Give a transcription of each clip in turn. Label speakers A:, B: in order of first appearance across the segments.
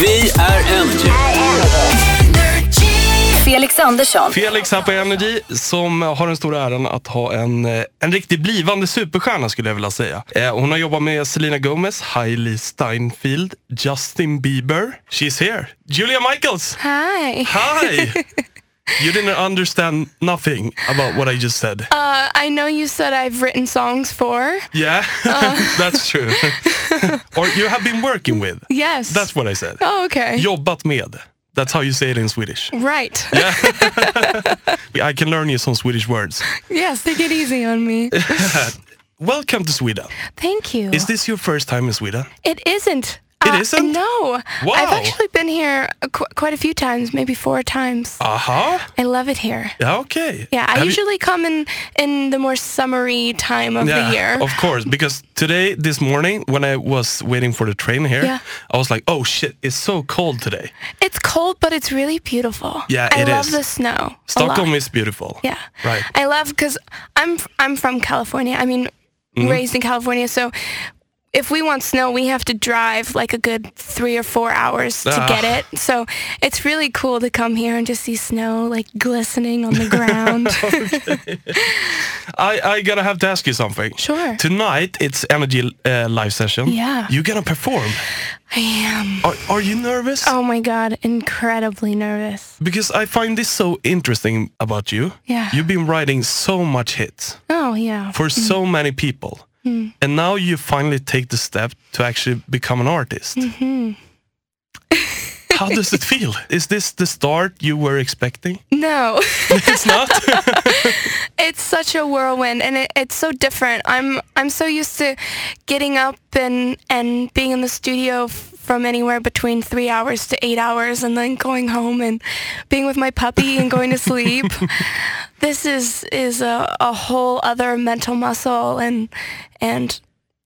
A: Vi är Energy.
B: Felix Andersson.
C: Felix här på Energy som har den stora äran att ha en, eh, en riktig blivande superstjärna skulle jag vilja säga. Eh, Hon har jobbat med Selena Gomez, Hailey Steinfeld, Justin Bieber. She's here! Julia Michaels!
D: Hi.
C: Hi! You didn't understand nothing about what I just said.
D: Uh, I know you said I've written songs for.
C: Yeah, that's true. Or you have been working with.
D: Yes.
C: That's what I said.
D: Oh, okay.
C: Jobbat med. That's how you say it in Swedish.
D: right.
C: I can learn you some Swedish words.
D: Yes, take it easy on me.
C: Welcome to Sweden.
D: Thank you.
C: Uh, Is this your first time in Sweden?
D: it isn't.
C: It
D: Uh,
C: isn't?
D: No.
C: Wow.
D: I've actually been here uh, qu- quite a few times, maybe four times.
C: Aha,
D: I love it here.
C: yeah, okay.
D: Yeah, I
C: Have you-
D: usually come in in the more summery time of
C: yeah, Oh.
D: the year.
C: Of course, because today, this morning, when I was waiting for the train here,
D: Yeah.
C: I was like, oh shit, it's so cold today.
D: It's cold, but it's really beautiful.
C: Yeah,
D: I
C: it
D: love
C: is.
D: the snow. a
C: Stockholm
D: lot.
C: is beautiful.
D: Yeah.
C: Right.
D: I love because I'm I'm from California. I mean,
C: Mm-hmm.
D: raised in California, so if we want snow, we have to drive like a good three or four hours to
C: Ah.
D: get it. So it's really cool to come here and just see snow like glistening on the ground.
C: Oh, I, I gotta have to ask you something.
D: Sure.
C: Tonight, it's energy uh, live session.
D: Yeah.
C: You're gonna perform.
D: I am.
C: Are, are you nervous?
D: Oh my god, incredibly nervous.
C: Because I find this so interesting about you.
D: Yeah.
C: You've been writing so much hits
D: Oh yeah.
C: for so many people.
D: Mm-hmm.
C: And now you finally take the step to actually become an artist.
D: Mm-hmm.
C: How does it feel? Is this the start you were expecting?
D: No.
C: It's not?
D: it's such a whirlwind and it, it's so different i'm i'm so used to getting up and and being in the studio f- from anywhere between three hours to eight hours and then going home and being with my puppy and going to sleep this is is a, a whole other mental muscle and and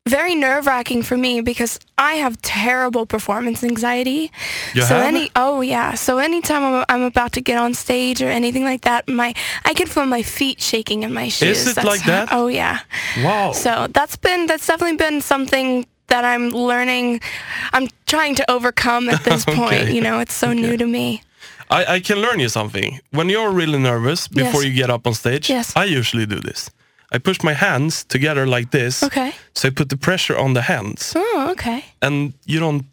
D: very nerve wracking for me because I have terrible performance anxiety.
C: You
D: so
C: have?
D: any oh yeah. So anytime I'm, I'm about to get on stage or anything like that, my I can feel my feet shaking in my shoes.
C: it
D: That's
C: like
D: how-
C: that?
D: oh yeah.
C: wow.
D: So that's been that's definitely been something that I'm learning. I'm trying to overcome at this point.
C: Okay.
D: You know, it's so new to me.
C: I, I can learn you something. When you're really nervous before
D: Yes.
C: you get up on stage,
D: Yes.
C: I usually do this. I push my hands together like this.
D: Okay.
C: So I put the pressure on the hands
D: Oh okay.
C: and you don't,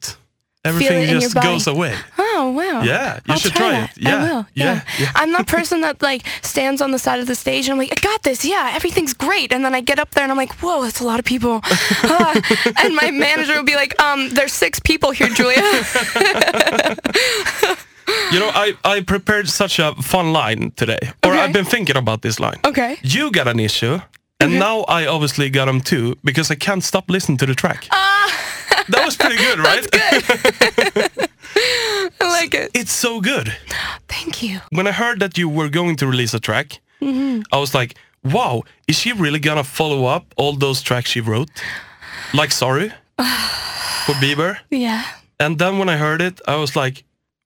C: everything
D: in your
C: just
D: body.
C: goes away.
D: Oh wow!
C: Yeah, you
D: I'll
C: should
D: try,
C: try
D: that.
C: it. Yeah,
D: I will.
C: yeah,
D: Yeah.
C: yeah.
D: I'm that person that like stands on the side of the stage and I'm like, I got this. Yeah, everything's great. And then I get up there and I'm like, whoa, that's a lot of people. Ah. and my manager will be like, um, there's six people here, Julia.
C: You know, I, I prepared such a fun line today, or
D: Okay.
C: I've been thinking about this line.
D: Okay.
C: You got an issue, and now I obviously got them too because I can't stop listening to the track.
D: Ah.
C: that was pretty good, right?
D: I like it.
C: It's so good.
D: Thank you.
C: When I heard that you were going to release a track,
D: Mm-hmm.
C: I was like, wow, is she really gonna follow up all those tracks she wrote? Like Sorry for Bieber?
D: Yeah.
C: And then when I heard it, I was like,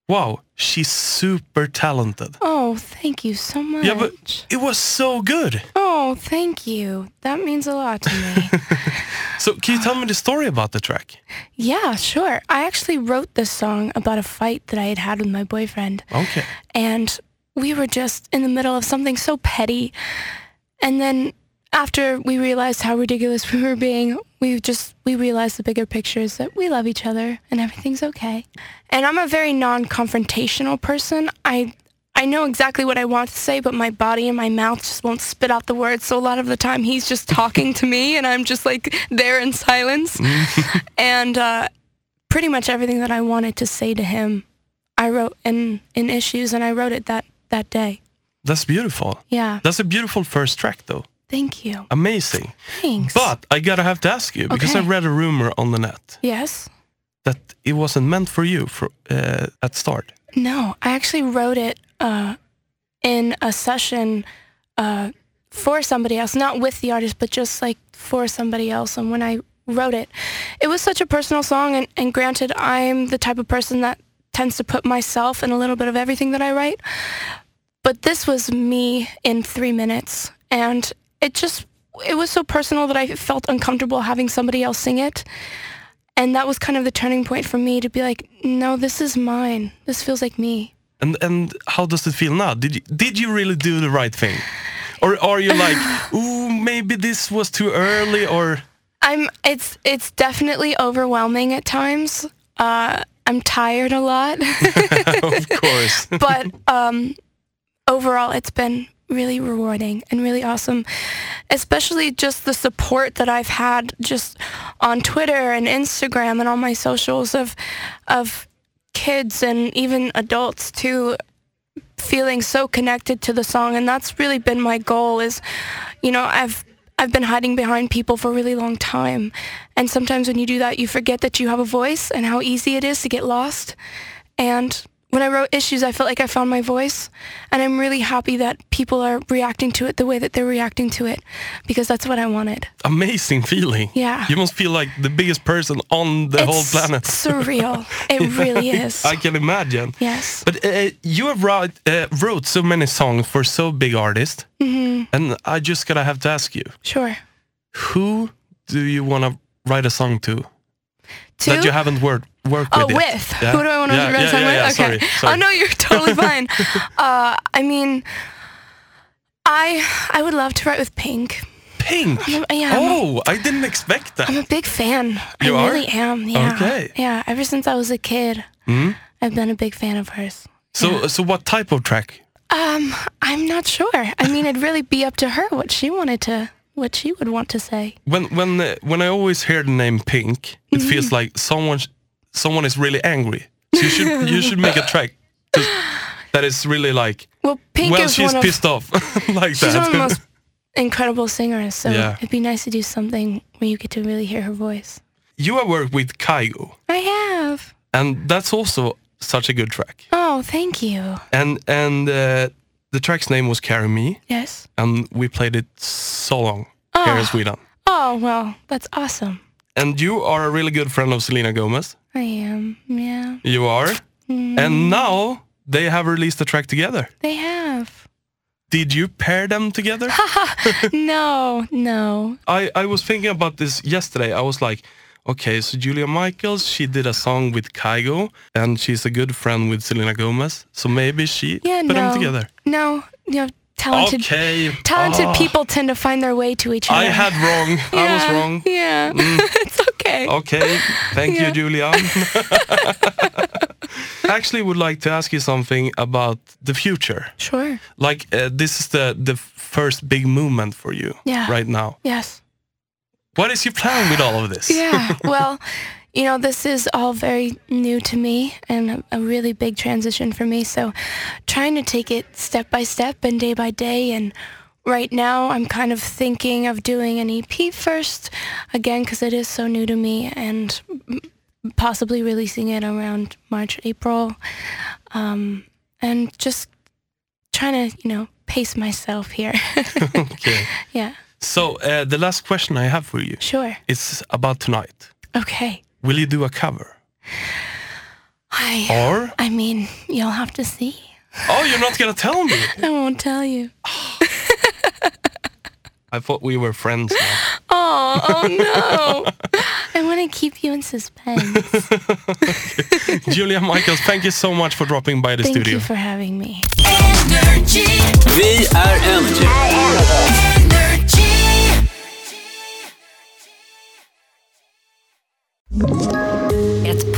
C: wow, she's super talented.
D: Oh, thank you so much.
C: Yeah, but it was so good.
D: oh, thank you. That means a lot to me.
C: So can you tell me the story about the track?
D: yeah, sure. I actually wrote this song about a fight that I had had with my boyfriend.
C: Okay.
D: and we were just in the middle of something so petty. And then after we realized how ridiculous we were being, we just we realized the bigger picture is that we love each other and everything's okay. And I'm a very non-confrontational person. I I know exactly what I want to say, but my body and my mouth just won't spit out the words. So a lot of the time he's just talking to me and I'm just like there in silence. and uh, pretty much everything that I wanted to say to him I wrote in in issues and I wrote it that that day.
C: That's beautiful.
D: Yeah.
C: That's a beautiful first track though.
D: Thank you.
C: Amazing.
D: Thanks.
C: But I gotta have to ask you because I
D: Okay.
C: read a rumor on the net
D: yes.
C: that it wasn't meant for you for, uh, at start.
D: No, I actually wrote it uh, in a session uh, for somebody else, not with the artist, but just like for somebody else. And when I wrote it, it was such a personal song. And, and granted, I'm the type of person that tends to put myself in a little bit of everything that I write. But this was me in three minutes. And it just, it was so personal that I felt uncomfortable having somebody else sing it. And that was kind of the turning point for me to be like, no, this is mine. This feels like me.
C: And and how does it feel now? Did you, did you really do the right thing, or are you like, ooh, maybe this was too early, or
D: I'm it's it's definitely overwhelming at times. Uh, I'm tired a lot,
C: of course,
D: but um, overall, it's been really rewarding and really awesome. Especially just the support that I've had just on Twitter and Instagram and all my socials of of kids and even adults too feeling so connected to the song and that's really been my goal is you know I've I've been hiding behind people for a really long time and sometimes when you do that you forget that you have a voice and how easy it is to get lost and when I wrote Issues, I felt like I found my voice, and I'm really happy that people are reacting to it the way that they're reacting to it, because that's what I wanted.
C: amazing feeling.
D: Yeah.
C: you must feel like the biggest person on the whole
D: It's
C: planet.
D: surreal. It really is.
C: I can imagine.
D: yes.
C: But uh, you have wrote, uh, wrote so many songs for so big artists,
D: Mm-hmm.
C: and I just gotta have to ask you,
D: Sure.
C: who do you wanna write a song to
D: Two.
C: that you haven't worked worked
D: oh,
C: with? yet?
D: with.
C: Yeah?
D: Who do I want to
C: yeah,
D: write a
C: yeah,
D: song
C: yeah,
D: with?
C: yeah, Sorry,
D: okay.
C: sorry.
D: Oh no, you're totally fine. uh, I mean, I I would love to write with Pink.
C: Pink.
D: yeah, I'm a-
C: oh, I didn't expect that.
D: I'm a big fan.
C: You
D: I
C: are?
D: really am. Yeah.
C: Okay. Hmm?
D: Yeah. Ever since I was a kid, I've been a big fan of hers.
C: So, so what type of track?
D: Um, I'm not sure. I mean, it'd really be up to her what she wanted to, what she would want to say.
C: When when uh, when I always hear the name Pink, it feels
D: Mm-hmm.
C: like someone someone is really angry. So you should you should make a track to- that is really like
D: Well, Pink
C: well
D: is
C: she's
D: one of
C: pissed off like
D: she's
C: that.
D: one of the most incredible singers, so
C: Yeah.
D: it'd be nice to do something where you get to really hear her voice.
C: you have worked with Kaigo,
D: I have.
C: and that's also such a good track.
D: Oh, thank you.
C: And and uh, the track's name was Carry Me,
D: Yes.
C: and we played it so long here in
D: Ah.
C: Sweden.
D: Oh well, that's awesome.
C: And you are a really good friend of Selena Gomez.
D: I am. Yeah,
C: You are.
D: Mm.
C: And now they have released a track together.
D: they have.
C: Did you pair them together?
D: no, no.
C: I, I was thinking about this yesterday. I was like, okay, so Julia Michaels, she did a song with Kygo and she's a good friend with Selena Gomez. So maybe she
D: Yeah,
C: put
D: no.
C: them together.
D: No, you know, talented
C: okay.
D: talented
C: Ah,
D: people tend to find their way to each other.
C: I had wrong. I was
D: Yeah,
C: wrong. Mm. Oh.
D: Yeah, it's okay.
C: Okay. Thank you,
D: Yeah.
C: Julia. Actually, would like to ask you something about the future.
D: Sure.
C: like uh, this is the the first big movement for you
D: Yeah.
C: right now
D: Yes.
C: what is your plan with all of this
D: Yeah. well, you know, this is all very new to me and a, a really big transition for me. So trying to take it step by step and day by day. And right now I'm kind of thinking of doing an EP first, again, because it is so new to me and m- possibly releasing it around March, April. Um, and just trying to, you know, pace myself here.
C: okay
D: yeah.
C: so uh, the last question i have for you
D: Sure.
C: is about tonight
D: Okay.
C: will you do a cover
D: I.
C: or
D: I mean, you'll have to see.
C: oh you're not gonna tell me
D: I won't tell you.
C: i thought we were friends now.
D: Oh, oh no. I want to keep you in suspense.
C: julia michaels thank you so much for dropping by the
D: Thank
C: studio
D: you for having me.
A: Energy.
B: Vi är Energy.
A: Energy.
E: Ett